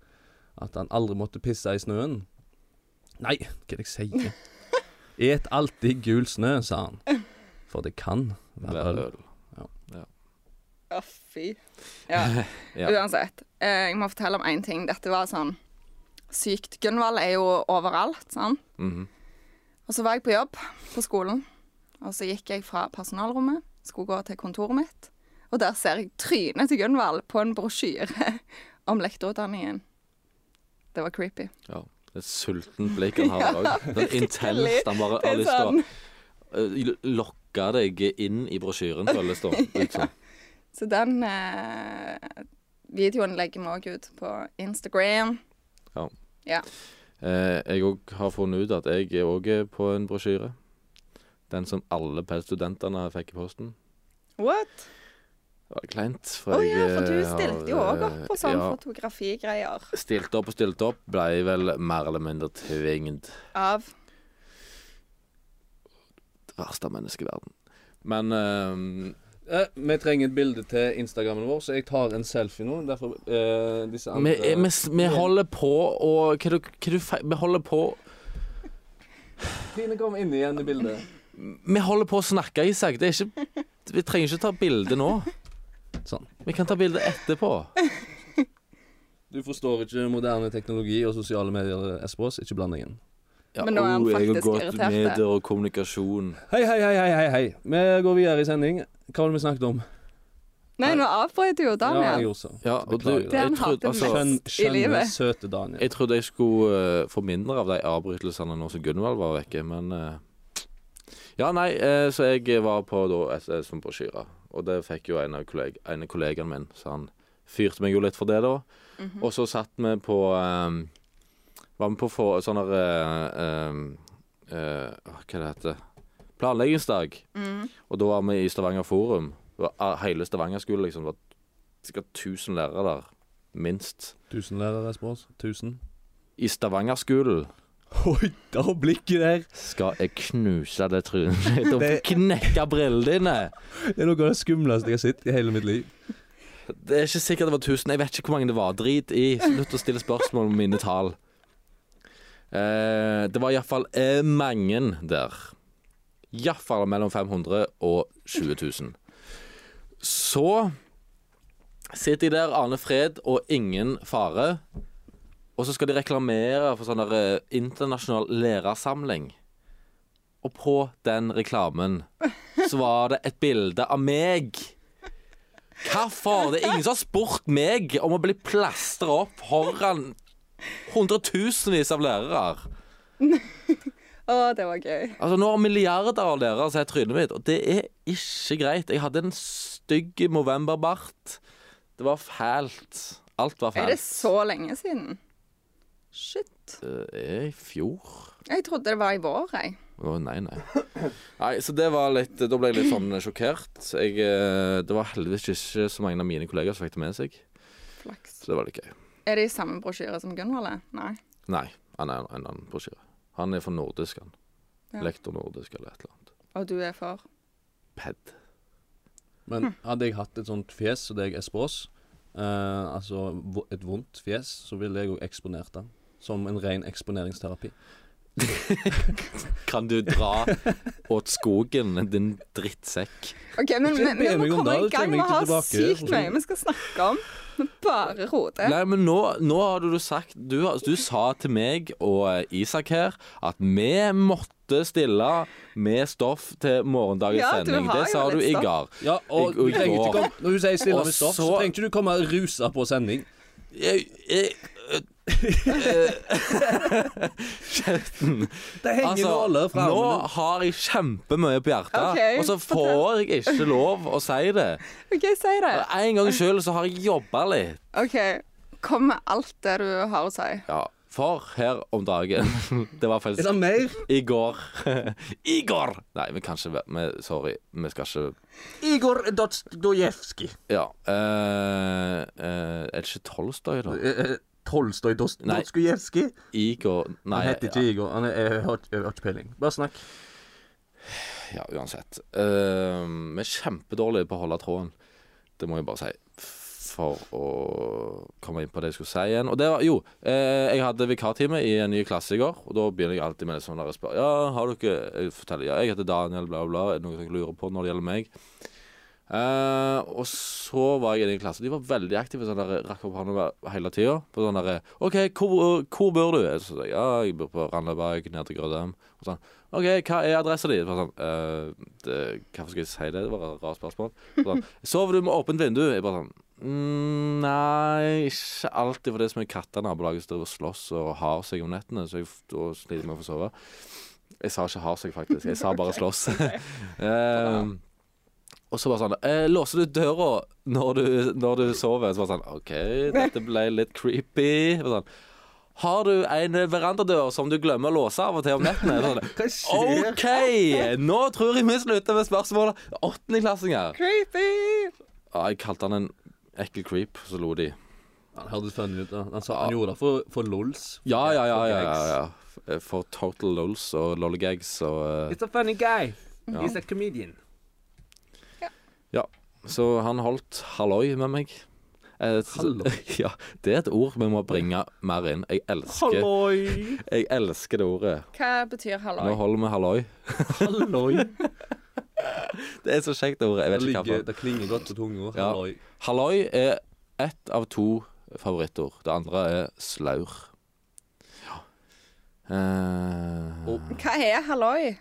S3: at han aldri måtte pisse i snøen. Nei, hva er det jeg sier? Et alltid gul snø, sa han. For det kan
S2: Det
S3: være
S2: er
S3: øl.
S2: øl.
S1: Å, fy. Ja.
S2: Ja.
S1: Uansett. eh, Jeg må fortelle om én ting. Dette var sånn sykt. Gunvald er jo overalt, sant?
S2: Mhm.
S1: Og så var jeg på jobb på skolen. Og så gikk jeg fra personalrommet, skulle gå til kontoret mitt. Og der ser jeg trynet til Gunvald på en brosjyre om lektorutdanningen. Det var creepy.
S2: ja. Et sultent blikk han har i dag. Det er intenst. Han bare
S1: Det
S2: har
S1: er
S2: lyst til å
S1: sånn.
S2: eh, lokke deg inn i brosjyren, føles det som. Liksom.
S1: Så den eh, videoen legger vi òg ut på Instagram.
S2: Ja.
S1: Ja.
S2: Eh, jeg òg har funnet ut at jeg er òg er på en brosjyre. Den som alle PED-studentene fikk i posten.
S1: What?
S2: Det var kleint.
S1: Å ja, for du
S2: jeg, eh,
S1: stilte jo
S2: har,
S1: òg opp på sånn
S2: ja,
S1: fotografigreier
S2: Stilte opp og stilte opp. Blei vel mer eller mindre tvingd.
S1: av
S2: verste menneske i verden. Men ehm,
S3: Eh, vi trenger et bilde til Instagrammen vår, så jeg tar en selfie nå. Derfor eh, disse andre
S2: Vi, vi, vi holder på å Hva er det hva er det du feil Vi holder på
S3: Trine, kom inn igjen i bildet.
S2: Vi holder på å snakke, Isak. Det er ikke, vi trenger ikke ta bilde nå.
S3: Sånn.
S2: Vi kan ta bilde etterpå.
S3: Du forstår ikke moderne teknologi og sosiale medier, Espros. Ikke bland deg inn.
S2: Ja,
S1: Men nå er han
S2: oh, jeg har
S1: faktisk
S2: gått
S1: irritert,
S2: med
S1: det.
S2: der og kommunikasjon.
S3: Hei, hei, hei, hei, hei, hei. Vi går videre i sending. Hva var det vi snakket om?
S1: Nei, nå avbrøt jo
S3: Ja, jeg
S1: Daniel.
S3: gjorde så.
S2: Ja, og du,
S3: Beklager.
S1: Det han
S2: jeg,
S1: hater
S2: trodde, altså,
S3: Skjønn,
S1: I
S3: skjønne,
S1: livet.
S3: søte Daniel.
S2: jeg trodde jeg skulle eh, få mindre av de avbrytelsene nå som Gunvald var vekke, men eh, Ja, nei, eh, så jeg var på da et- et som brosjyre, og det fikk jo en av kolleg en av kollegaen min, så han fyrte meg jo litt for det, da. Og så satt vi på eh, Var vi på for, sånn her eh, eh, eh, Hva det heter Planleggingsdag. Og da var vi i Stavanger Forum. Det var a- hele Stavanger skole, liksom. Det var sikkert 1000 lærere der, minst.
S3: Tusen lærere, Espros. Tusen.
S2: I Stavangerskolen
S3: Oi, da blikket der.
S2: skal jeg knuse det trynet ditt og
S3: Det-
S2: knekke brillene dine.
S3: Det er noe av det skumleste jeg har sett i hele mitt liv.
S2: Det er ikke sikkert det var 1000. Jeg vet ikke hvor mange det var. Drit i. Slutt å stille spørsmål om mine tall. Eh, det var iallfall eh, mange der. Iallfall mellom 500 og 20 000. Så sitter de der, aner fred og ingen fare. Og så skal de reklamere for sånn der eh, internasjonal lærersamling. Og på den reklamen så var det et bilde av meg. Hvorfor? Det er ingen som har spurt meg om å bli plastra opp foran hundretusenvis av lærere.
S1: Å, det var gøy.
S2: Altså Nå har milliarder av lærere sett trynet mitt, og det er ikke greit. Jeg hadde en stygg novemberbart. Det var fælt. Alt var
S1: Er
S2: fælt.
S1: det så lenge siden? Shit.
S2: Det er i fjor.
S1: Jeg trodde det var i vår, jeg.
S2: Å, nei, nei. Nei, så det var litt Da ble jeg litt sånn sjokkert. Jeg, eh, det var heldigvis ikke så mange av mine kollegaer som fikk det med seg,
S1: Flaks.
S2: så det var litt gøy.
S1: Er det i samme brosjyre som Gunvald er? Nei.
S2: Nei, han er en annen brosjyre. Han er for nordisk, han.
S1: Ja.
S2: Lektor nordisk eller et eller annet.
S1: Og du er for?
S2: Ped.
S3: Men hadde jeg hatt et sånt fjes som deg, Espros, eh, altså vo- et vondt fjes, så ville jeg òg eksponert det. Som en ren eksponeringsterapi.
S2: Kan du dra åt skogen, din drittsekk?
S1: OK, men
S3: Ikke
S1: men-
S3: be
S1: vi må
S3: meg om
S1: komme
S3: det,
S1: i gang.
S3: kjenner
S1: Vi
S3: jeg ikke
S1: har
S3: tilbake.
S1: sykt mye vi skal snakke om. Vi bare roter.
S2: Nei, men nå, nå har du sagt du, har- du sa til meg og eh, Isak her at vi måtte stille med stoff til morgendagens
S1: Ja, du
S2: sending.
S1: har
S2: Det
S1: jo
S2: sa
S1: litt
S2: du i
S1: stoff.
S2: går.
S3: Ja, og
S2: Jeg- og
S3: du trenger
S2: går.
S3: ikke komme, Når du sier stille
S2: Og
S3: med stoff, så,
S2: så-
S3: trenger ikke du komme rusa på sending.
S2: Jeg- jeg- eh,
S3: Det henger
S2: Altså,
S3: nåler fra
S2: nå
S3: armene.
S2: har jeg kjempemye på hjertet,
S1: Ok,
S2: og så får jeg ikke lov å si det.
S1: OK, si det.
S2: En gang sjøl så har jeg jobba litt.
S1: OK. Kom med alt det du har å si.
S2: Ja, for her om dagen Det var
S3: Er
S2: faktisk
S3: det mer?
S2: i går I går! Nei, vi kan ikke være vi- Sorry, vi skal ikke
S7: Igor Dostojevskij.
S2: Ja. eh, eh, er det ikke Tolstoy, da?
S7: Eh, Tolstoj Dost-
S2: Nei.
S7: Dostojevskij?
S2: Igor Nei,
S7: Han heter ikke
S2: ja,
S7: Igor. Han er, jeg har ikke jeg har ikke peiling. Bare snakk.
S2: ja, uansett. Eh, vi er kjempedårlige på å holde tråden. Det må jeg bare si. For å komme inn på det jeg skulle si igjen. Og det var, jo, eh, jeg hadde vikartime i en ny klasse i går. Og da begynner jeg alltid med det sånn der jeg spør Ja, har dere Jeg forteller ja, jeg heter Daniel, bla, bla. Er det noe dere lurer på når det gjelder meg? Eh, og så var jeg i den klassen. De var veldig aktive. Sånn der, rakk opp hånda hele tida. På sånn derre 'OK, hvor, hvor bor du?' Så sa jeg ja, jeg bor på Randaberg, nede til Grødem. Og sånn 'OK, hva er adressa di?' Så var jeg Sånn, «Eh, det, hvorfor skal jeg si det? Det var et rart spørsmål. Så Sånn, 'Sover du med åpent vindu?' Jeg bare sånn «Mm, Nei, ikke alltid, for det er så mye katter i nabolaget som driver og slåss og har seg om nettene, så jeg f- da sliter jeg med å få sove. Jeg sa ikke har seg, faktisk. Jeg sa bare slåss. um, og så bare sånn eh, Låser du døra når du, når du sover? Så bare sånn OK, dette ble litt creepy. Og Sånn, har du en verandadør som du glemmer å låse av og til om nettene? Så Sånn, OK! Nå tror jeg vi slutter med spørsmål. Åttendeklassinger.
S1: Creepy!
S2: Ja, jeg kalte han en ekkel creep, så lo de.
S3: Han hørtes funny ut. da. Han sa han gjorde det for, for lols.
S2: Ja, ja, ja. ja,
S3: for
S2: ja,
S3: gags.
S2: ja. For total lols og lollygags og eh,
S7: It's a funny guy. He's a comedian.
S2: Ja. Så han holdt halloi med meg. Eh, så-
S7: Halloi?
S2: Ja, det er et ord vi må bringe mer inn. Jeg elsker,
S7: Halloi!
S2: jeg elsker det ordet.
S1: Hva betyr
S2: Nå
S1: halloi?
S2: holder vi halloi.
S7: Halloi.
S2: Det er så kjekt det ordet. Jeg
S3: Det,
S2: vet ikke hva
S3: ligger,
S2: for-
S3: det klinger godt på tunga.
S2: Ja.
S3: Halloi.
S2: Halloi er ett av to favorittord. Det andre er slaur. Ja. Eh,
S3: Og-
S1: Hva er halloi?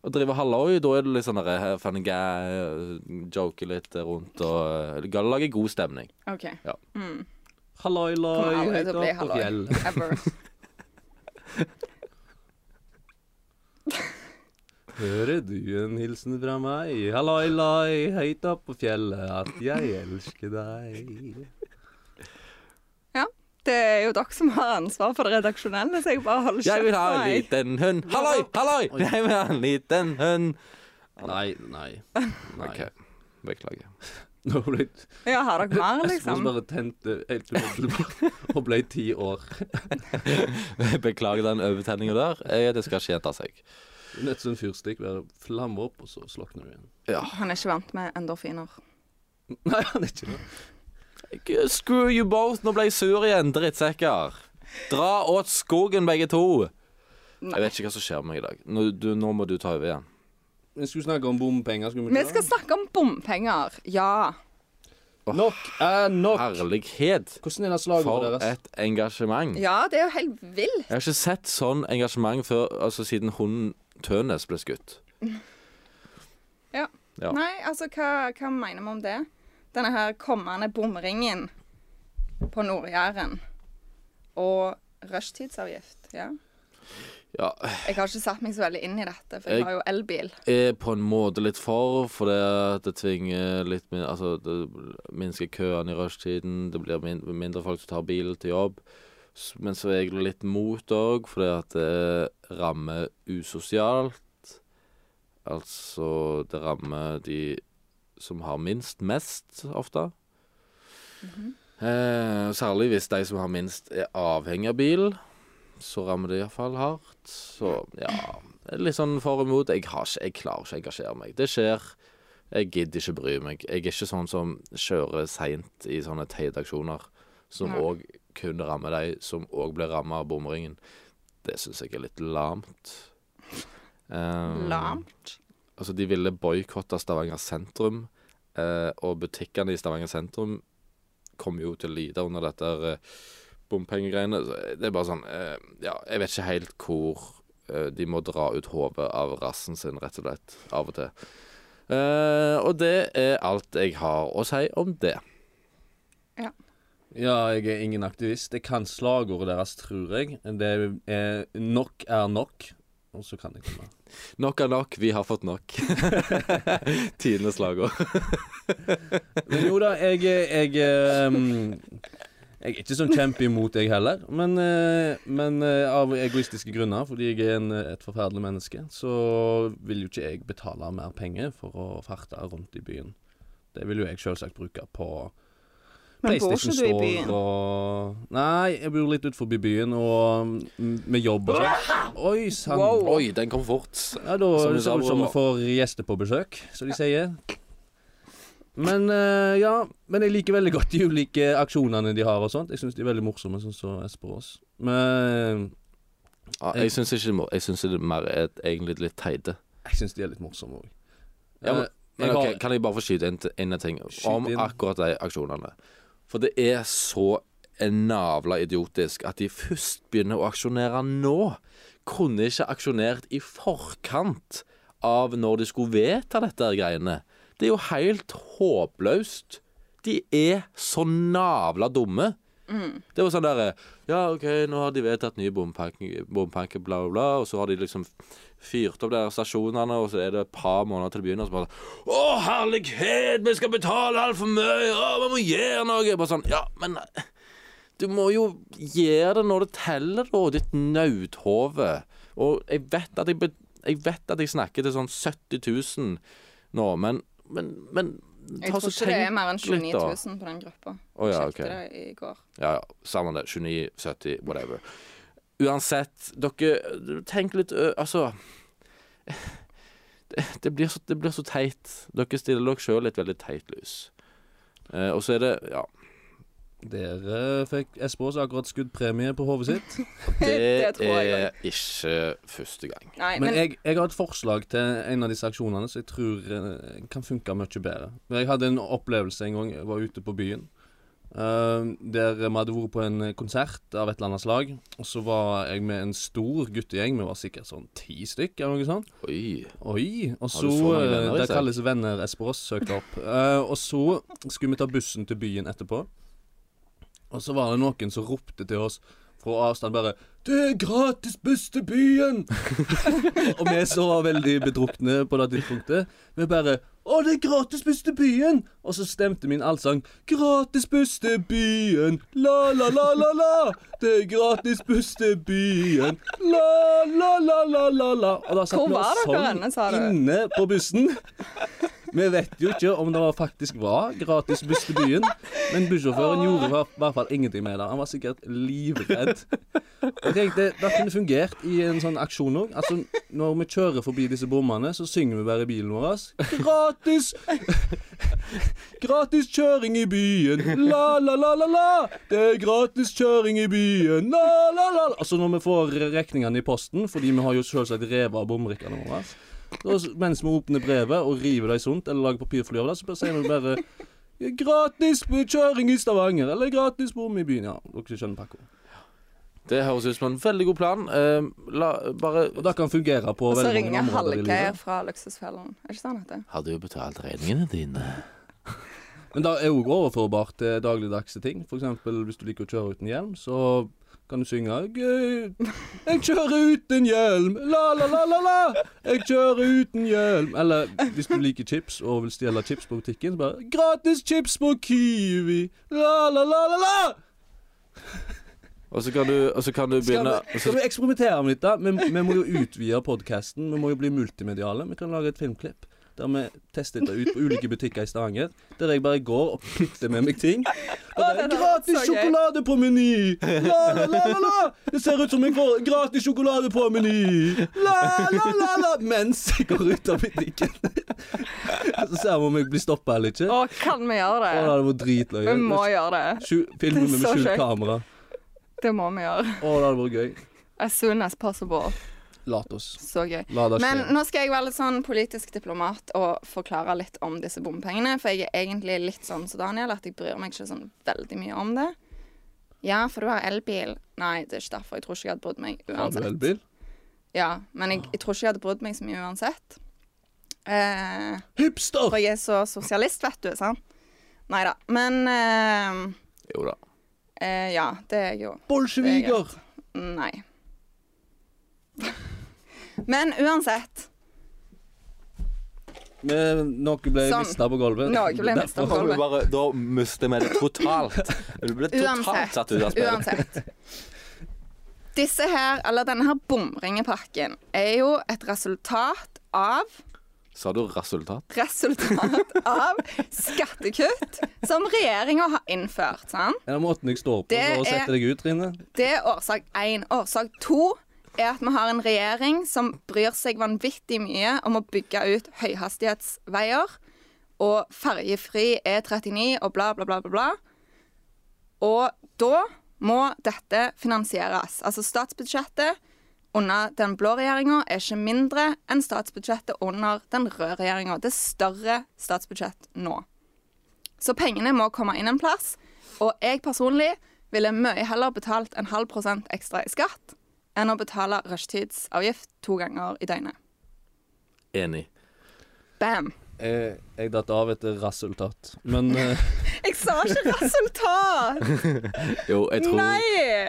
S2: Å drive halloi, da er det litt sånn derre funny guy, eh, joke litt rundt og eh, Lage god stemning.
S1: OK.
S2: Ja.
S1: Mm.
S3: Halloi,
S1: Kommer
S3: loi,
S1: aldri
S3: høyt
S1: til å bli
S3: opp på
S1: halloi.
S3: fjell.
S1: Ever.
S3: Hører du en hilsen fra meg? Halloi, loi, høyt opp på fjellet, at jeg elsker deg.
S1: Det er jo dere som har ansvar for det redaksjonelle, så jeg bare holder
S2: Jeg vil
S1: kjeft.
S2: ha en
S1: jeg.
S2: liten hund. Halloi, halloi! Jeg vil ha en liten hund.
S3: Nei, nei. nei.
S2: OK. Beklager.
S3: Nå ble jeg
S1: Ja, har dere mer,
S3: liksom.
S1: liksom?
S3: bare tente helt umiddelbart og ble ti år.
S2: Beklager den overtenninga der. Eh, Det skal ikke gjenta seg.
S3: Nett som en fyrstikk, bare flammer opp, og så slokner du igjen.
S1: Han er ikke vant med endorfiner.
S3: Nei, han er ikke det.
S2: Screw you both! Nå ble jeg sur igjen, drittsekker. Dra åt skogen, begge to. Jeg vet ikke hva som skjer med meg i dag. Nå, du, nå må du ta over igjen.
S3: Vi skulle snakke om bompenger, skulle vi
S1: Vi
S3: ikke?
S1: skal snakke om bompenger. Ja.
S3: det? Nok er nok!
S2: Herlighet.
S3: Hvordan er det
S2: For
S1: Eh,
S3: slagordet deres?
S2: et engasjement.
S1: Ja, det er jo helt vill.
S2: Jeg har ikke sett sånn engasjement før, altså siden hunden Tønes ble skutt.
S1: Ja.
S2: Ja.
S1: Nei, altså, hva, hva mener vi om det? Denne her kommende bomringen på Nord-Jæren. Og rushtidsavgift. Ja.
S2: Ja,
S1: Jeg har ikke satt meg så veldig inn i dette, for jeg
S2: Jeg-
S1: har jo elbil.
S2: er på en måte litt for, for det, at det tvinger litt min, Altså, det minsker køene i rushtiden, det blir min, mindre folk som tar bil til jobb. S- Men så er jeg litt mot òg, fordi at det rammer usosialt. Altså, det rammer de som har minst, mest ofte. eh, særlig hvis de som har minst, er avhengig av bil. Så rammer det iallfall hardt. Så ja Litt sånn for og imot. Jeg, har ikke, jeg klarer ikke å engasjere meg. Det skjer. Jeg gidder ikke bry meg. Jeg er ikke sånn som kjører seint i sånne teite aksjoner, som
S1: Nei.
S2: òg kunne ramme de som òg ble ramma av bomringen. Det syns jeg er litt lamt. Eh,
S1: Mm. Lamt.
S2: Altså, de ville boikotte Stavanger sentrum, eh, og butikkene i Stavanger sentrum kom jo til å lide under dette her, eh, bompengegreiene. Så Det er bare sånn eh, Ja, jeg vet ikke helt hvor eh, de må dra ut hodet av rassen sin, rett og slett, av og til. Eh, og det er alt jeg har å si om det.
S3: Ja, jeg er ingen aktivist. Jeg kan slagordet deres, tror jeg. Det er nok er nok. Og så kan jeg komme.
S2: Nok er nok, vi har fått nok. Tidenes slagord.
S3: Men jo da, jeg, jeg, ehm, jeg er ikke sånn kjempe imot, jeg heller. Men, eh, men eh, av egoistiske grunner, fordi jeg er en, eh, et forferdelig menneske, så vil jo ikke jeg betale mer penger for å farte rundt i byen. Det vil jo jeg selvsagt bruke på
S1: Men bor ikke du i
S3: Store
S1: byen?
S3: Og... Nei, jeg bor litt utenfor byen, og mm, med jobb og sånn. Oi sann.
S1: Wow.
S2: Oi, den kom fort.
S3: Ja, da
S2: Som
S3: ser
S2: du
S3: det
S2: sa,
S3: ut som vi
S2: Roar.
S3: får gjester på besøk, som de sier. Men eh, ja, men jeg liker veldig godt de ulike aksjonene de har og sånt. Jeg syns de er veldig morsomme, sånn som Espen Aas. Men eh,
S2: Ja, jeg syns ikke det må- Jeg syns det mer er egentlig litt teite.
S3: jeg syns de er litt morsomme òg.
S2: Ja, men, men
S3: Eh, jeg
S2: ok,
S3: har-
S2: Kan jeg bare få skyte inn, inn en ting
S3: Skyt
S2: om
S3: inn.
S2: akkurat de aksjonene? For det er så navla idiotisk at de først begynner å aksjonere nå. Kunne ikke aksjonert i forkant av når de skulle vedta dette her greiene. Det er jo helt håpløst. De er så navla dumme. Det var sånn derre Ja, OK, nå har de vedtatt nye bompakke, bompakke, bla, bla, bla. Og så har de liksom fyrt opp de her stasjonene, og så er det et par måneder til det begynner, og så bare sånn, Å, herlighet, vi skal betale altfor mye! Å, vi må gjøre noe! Bare sånn Ja, men du må jo gjøre det når det teller, da, ditt nauthove. Og jeg vet at jeg, be- jeg vet at jeg snakker til sånn 70 000 nå, men Men, men
S1: Jeg tror ikke det er mer enn 29 000 på den gruppa.
S2: Å, ja,
S1: Sjekket
S2: ok.
S1: det i går.
S2: Ja, ja, samme det. 29, 70, whatever. Uansett, dere Tenk litt ø, Altså det, det, blir så, det blir så teit. Dere stiller dere sjøl i et veldig teit lys. Eh, og så er det Ja,
S3: Eh, Dere fikk Espås akkurat skutt premie på hodet sitt.
S1: Det
S2: det,
S1: tror jeg
S2: er ikke første gang.
S1: Nei,
S3: Men jeg, jeg har et forslag til en av disse aksjonene som jeg tror eh, kan funke mye bedre. Jeg hadde en opplevelse en gang jeg var ute på byen. eh, der vi hadde vært på en konsert av et eller annet slag. Og så var jeg med en stor guttegjeng. Vi var sikkert sånn ti stykk eller noe sånt.
S2: Oi.
S3: Oi, og så,
S2: Har du så mange venner,
S3: eh, Det
S2: Isak?
S3: kalles venner Esperås søkte opp. Eh, og så skulle vi ta bussen til byen etterpå. Og så var det noen som ropte til oss fra avstand bare 'Det er gratis buss til byen!' og vi som var veldig bedrukne på det tidspunktet, vi bare 'Å, det er gratis buss til byen!' Og så stemte min allsang 'Gratis buss til byen, la, la, la, la, la'. 'Det er gratis buss til byen, la, la, la, la, la, la'. Og da satt
S1: Hvor
S3: vi
S1: var
S3: og
S1: dere henne, sa du?
S3: sang inne på bussen. Vi vet jo ikke om det var faktisk var gratis buss til byen, men bussjåføren gjorde i hvert- hvert fall ingenting med det. Han var sikkert livredd. Jeg tenkte, Det kunne fungert i en sånn aksjon òg. Altså, når vi kjører forbi disse bommene, så synger vi bare i bilen vår. Gratis! Gratis kjøring i byen, la, la, la, la, la. Det er gratis kjøring i byen, la, la, la. la. Altså når vi får regningene i posten, fordi vi har jo selvsagt revet av bomrikkene våre. Da, s- mens vi åpner brevet og river det i sunt, eller lager papirfly av det, så bare sier vi bare Gratis kjøring i Stavanger, eller gratis bom i byen. Ja, dere skjønner pakka.
S2: Det høres ut som en veldig god plan. Eh, la, bare
S3: Og det kan fungere på
S1: Og så
S3: veldig mange
S1: ringer
S3: områder i
S1: Hallgeir
S3: livet.
S1: fra Luksusfellen. Er ikke sånn at det?
S2: Har du betalt regningene dine?
S3: Men det er òg overførbart til dagligdagse ting. For eksempel hvis du liker å kjøre uten hjelm, så kan du synge «Gøy, Jeg kjører uten hjelm, la, la, la, la, la. Jeg kjører uten hjelm. Eller hvis du liker chips og vil stjele chips på butikken, så bare Gratis chips på Kiwi, la, la, la, la, la.
S2: Og så kan du, og så kan du
S3: Skal
S2: begynne
S3: vi, skal vi eksperimentere med dette? Vi, vi må jo utvide podkasten. Vi må jo bli multimediale. Vi kan lage et filmklipp der vi tester dette ut på ulike butikker i Stavanger. Der jeg bare går og putter med meg ting. Og det
S1: det
S3: er
S1: der,
S3: gratis
S1: så gøy.
S3: sjokolade på Meny! La, la, la, la, la! Det ser ut som jeg får gratis sjokolade på Meny! La, la, la, la! Mens jeg går ut av butikken. Så ser vi om jeg blir stoppa eller ikke. Å,
S1: Å, kan vi gjøre
S3: det
S1: det?
S3: hadde vært dritløye.
S1: Vi må gjøre det.
S3: Skjul- Filmen
S1: Det er
S3: med
S1: så
S3: skjult
S1: sjukt.
S3: kamera.
S1: Det må vi gjøre.
S3: Å, det hadde vært gøy.
S1: As soon as possible.
S3: Lat oss.
S1: Så gøy.
S3: La det skje.
S1: Men nå skal jeg være litt sånn politisk diplomat og forklare litt om disse bompengene. For jeg er egentlig litt sånn som Daniel, at jeg bryr meg ikke sånn veldig mye om det. Ja, for du har elbil. Nei, det er ikke derfor. Jeg tror ikke jeg hadde brydd meg
S3: Har du
S1: uansett.
S3: elbil?
S1: Ja, Men jeg, jeg tror ikke jeg hadde brydd meg så mye uansett. Eh,
S3: Hipster!
S1: for jeg er så sosialist, vet du. sant? Nei da. Men eh,
S2: Jo da.
S1: eh, ja, det er jeg jo.
S3: Bolsjeviker!
S1: Nei. Men uansett.
S3: Med noe ble
S1: Sånn.
S3: mista på gulvet.
S1: Noe ble
S3: Derfor-
S1: mistet på gulvet.
S2: bare, da mister vi det totalt. Du blir
S1: Uansett. Uansett. Disse her, eller denne her bomringepakken er jo et resultat av
S2: Sa du resultat?
S1: Resultat av skattekutt som regjeringa har innført. Sant?
S3: Er det måten jeg står på
S1: Det
S3: for å
S1: er-
S3: sette deg ut, Trine?
S1: Det er årsak én. Årsak to er at vi har en regjering som bryr seg vanvittig mye om å bygge ut høyhastighetsveier og ferjefri E39 og bla, bla, bla, bla, bla. Og da må dette finansieres. Altså statsbudsjettet under den blå regjeringa er ikke mindre enn statsbudsjettet under den røde regjeringa. Det er større statsbudsjett nå. Så pengene må komme inn en plass. Og jeg personlig ville mye heller betalt en halv prosent ekstra i skatt enn å betale rushtidsavgift to ganger i døgnet.
S2: Enig.
S1: Bam!
S3: Jeg, jeg datt av etter resultat. Men eh,
S1: Jeg sa ikke resultat!
S2: Jo, jeg tror
S1: Nei!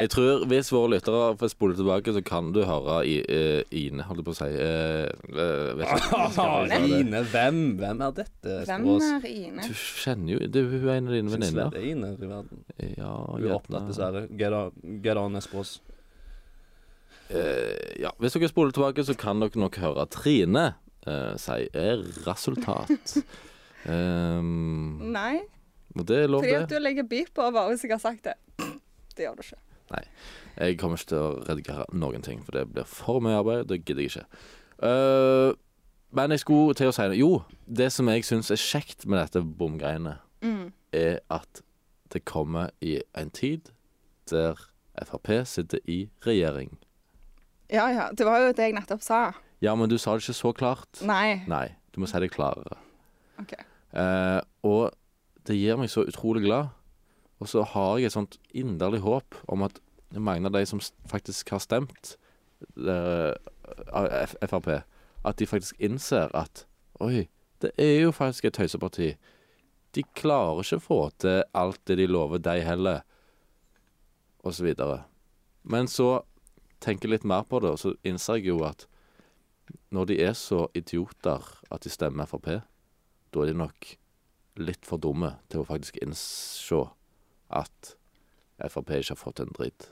S2: Jeg tror Hvis våre lyttere får spole tilbake, så kan du høre i, eh, Ine, holdt jeg på å si. eh, eh, vet ikke, skal vi si det?
S3: Ine, hvem? Hvem er dette?
S1: Hvem
S3: Språs?
S1: er Ine?
S2: Du kjenner jo det, er- Hun er en av dine
S3: Synes det
S2: venninner.
S3: er Ine i verden.
S2: Ja,
S3: Hun er
S2: gjerne.
S3: opptatt, dessverre. Get on, get on Espros.
S2: Eh, ja. Hvis dere spoler tilbake, så kan dere nok høre Trine eh, si eh, resultat. Ehm,
S1: Nei,
S2: og det er lov,
S1: fordi at du
S2: det.
S1: legger beep på bare hvis jeg har sagt det. Det gjør du ikke.
S2: Jeg kommer ikke til å redigere noen ting, for det blir for mye arbeid. Det gidder jeg ikke. Eh, Men jeg skulle til å si det. Jo, det som jeg syns er kjekt med dette bomgreiene,
S1: Mm.
S2: er at det kommer i en tid der Frp sitter i regjering.
S1: Ja, ja. Det var jo det jeg nettopp sa.
S2: Ja, men du sa det ikke så klart.
S1: Nei.
S2: Nei, du må si det klarere.
S1: OK.
S2: Eh, og det gjør meg så utrolig glad. Og så har jeg et sånt inderlig håp om at mange av de som s- faktisk har stemt eh, av F- Frp, at de faktisk innser at Oi, det er jo faktisk et tøyseparti. De klarer ikke å få til alt det de lover, de heller, og så videre. Men så tenker jeg litt mer på det, og så innser jeg jo at når de er så idioter at de stemmer Frp, da er de nok litt for dumme til å faktisk innse at Frp ikke har fått en dritt.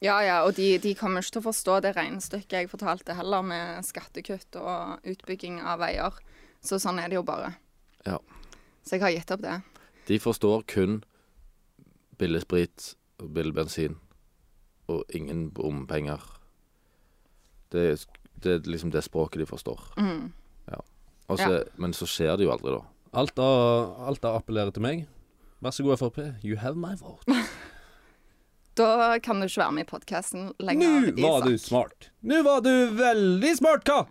S1: Ja, ja, og de, de kommer ikke til å forstå det regnestykket jeg fortalte heller, med skattekutt og utbygging av veier. Så sånn er det jo bare.
S2: Ja.
S1: Så jeg har gitt opp det.
S2: De forstår kun billig sprit og billig bensin og ingen bompenger. Det, er sk- det er liksom det språket de forstår. Ja. Og så- Men så skjer det jo aldri, da.
S3: Alt av, alt av appellerer til meg. Vær så god, Frp. You have my vote.
S1: Da kan du ikke være med i podkasten lenger.
S3: Nå var du smart. Nå var du veldig smart, hva?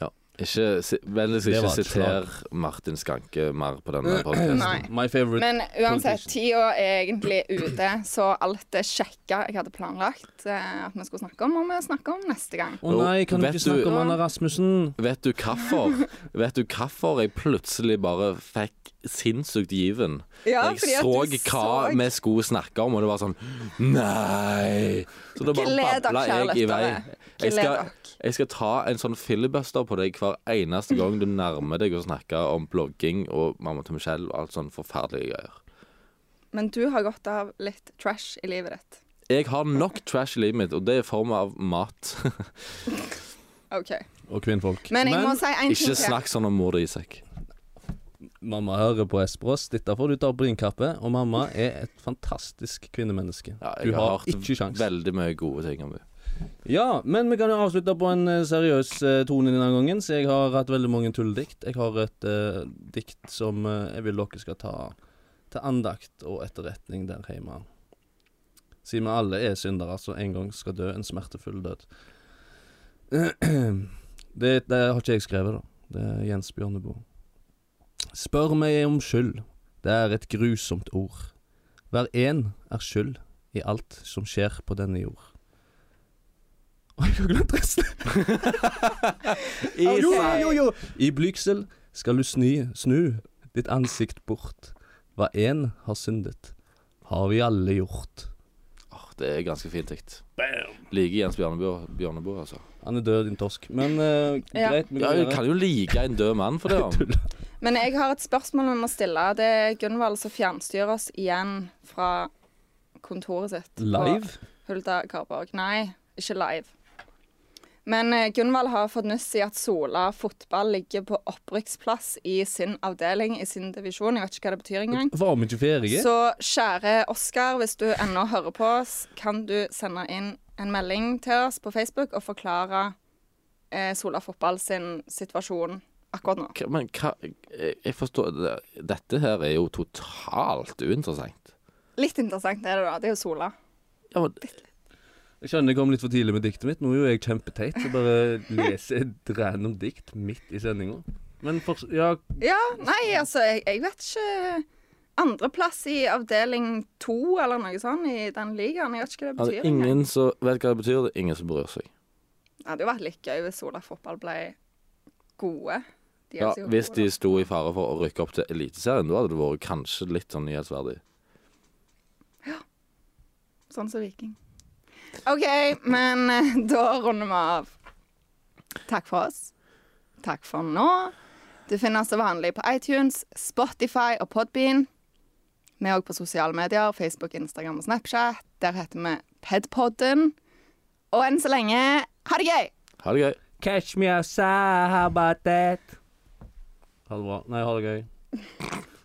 S2: Ja. Ikke, si- vennligst
S3: Det
S2: ikke
S3: var et slag.
S2: siter Martin Skanke mer på denne podkasten.
S1: Nei.
S3: My favorite
S1: Men uansett,
S3: politician.
S1: tida er egentlig ute, så alt det kjekka jeg hadde planlagt eh, at vi skulle snakke om, må vi snakke om neste gang.
S3: Å nei, kan du
S2: Vet
S3: ikke
S2: du-
S3: snakke om Anna Rasmussen?
S2: Vet du hvorfor? Vet du hvorfor jeg plutselig bare fikk sinnssykt given?
S1: Ja,
S2: jeg
S1: fordi at
S2: så
S1: du
S2: hva
S1: så-
S2: vi skulle snakke om, og det var sånn Nei! Så da bare
S1: Gled dere,
S2: babla
S1: kjære
S2: jeg i vei.
S1: lyttere. Gled
S2: Jeg skal,
S1: dere.
S2: jeg skal ta en sånn filibuster på deg hver eneste gang du nærmer deg å snakke om blogging og mamma til Michelle og alt sånn forferdelige greier.
S1: Men du har godt av litt trash i livet ditt.
S2: Jeg har nok trash i livet mitt, og det er i form av mat.
S1: OK.
S3: Og kvinnfolk.
S1: Men jeg må si en ting
S2: Ikke
S1: til.
S2: snakk sånn om mor di, Isak.
S3: mamma hører på Espros. Dette får du ta brynkappe. Og mamma er et fantastisk kvinnemenneske.
S2: Ja, jeg
S3: du har
S2: hørt
S3: ikke sjans.
S2: Veldig mye gode ting om henne.
S3: Ja, men vi kan jo avslutte på en eh, seriøs eh, tone denne gangen, så jeg har hatt veldig mange tulledikt. Jeg har et eh, dikt som eh, jeg vil dere skal ta til andakt og etterretning der hjemme. Siden vi alle er syndere, så en gang skal dø en smertefull død. Det, det har ikke jeg skrevet, da. Det er Jens Bjørneboe. Spør meg om skyld. Det er et grusomt ord. Hver en er skyld i alt som skjer på denne jord. Oi, jeg har glemt resten. Jo, jo, jo. I blygsel skal du sny, snu ditt ansikt bort. Hva én har syndet, har vi alle gjort.
S2: Åh, Det er ganske fint dikt. Liker Jens Bjørneboe, Bjørneboe altså.
S3: Han er død, din torsk. Men eh,
S1: Ja.
S3: greit. vi
S2: Ja,
S3: går
S2: jeg
S3: videre.
S2: kan jo like en død mann for det. Om.
S1: Men jeg har et spørsmål vi må stille. Det er Gunvald som fjernstyrer oss igjen fra kontoret sitt. på
S3: Live?
S1: Hulda Karborg. Nei, ikke live. Men eh, Gunvald har fått nyss i at Sola fotball ligger på opprykksplass i sin avdeling, i sin divisjon. Jeg vet ikke hva det betyr engang.
S3: Var vi ikke ferdige?
S1: Så kjære Oskar, hvis du ennå hører på oss, kan du sende inn en melding til oss på Facebook og forklare eh, Sola fotball sin situasjon akkurat nå.
S2: Hva- Men hva jeg- Jeg forstår det- Dette her er jo totalt uinteressant.
S1: Litt interessant er det, da. Det er jo Sola.
S2: Ja, men
S3: Jeg skjønner jeg kom litt for tidlig med diktet mitt. Nå er jo jeg kjempeteit, så bare leser et random dikt midt i sendinga. Men for, ja,
S1: Ja, nei, altså, jeg, jeg vet ikke Andreplass i avdeling to eller noe sånt i den ligaen. Jeg vet ikke hva det
S2: altså,
S1: betyr. engang.
S2: ingen som vet hva det betyr, det er ingen som bryr seg.
S1: Det hadde jo vært litt gøy hvis Sola fotball ble gode. De er
S2: Ja,
S1: sikkert
S2: hvis
S1: gode,
S2: de
S1: da.
S2: sto i fare for å rykke opp til Eliteserien, da hadde det vært kanskje litt sånn nyhetsverdig.
S1: Sånn som Viking. OK, men eh, da runder vi av. Takk for oss. Takk for nå. Du finner oss som vanlig på iTunes, Spotify og Podbean. Vi er òg på sosiale medier, Facebook, Instagram og Snapchat. Der heter vi Pedpodden. Og enn så lenge, ha det gøy!
S2: Ha det gøy.
S3: Catch me outside, how about that? Ha det bra. Nei, ha det gøy.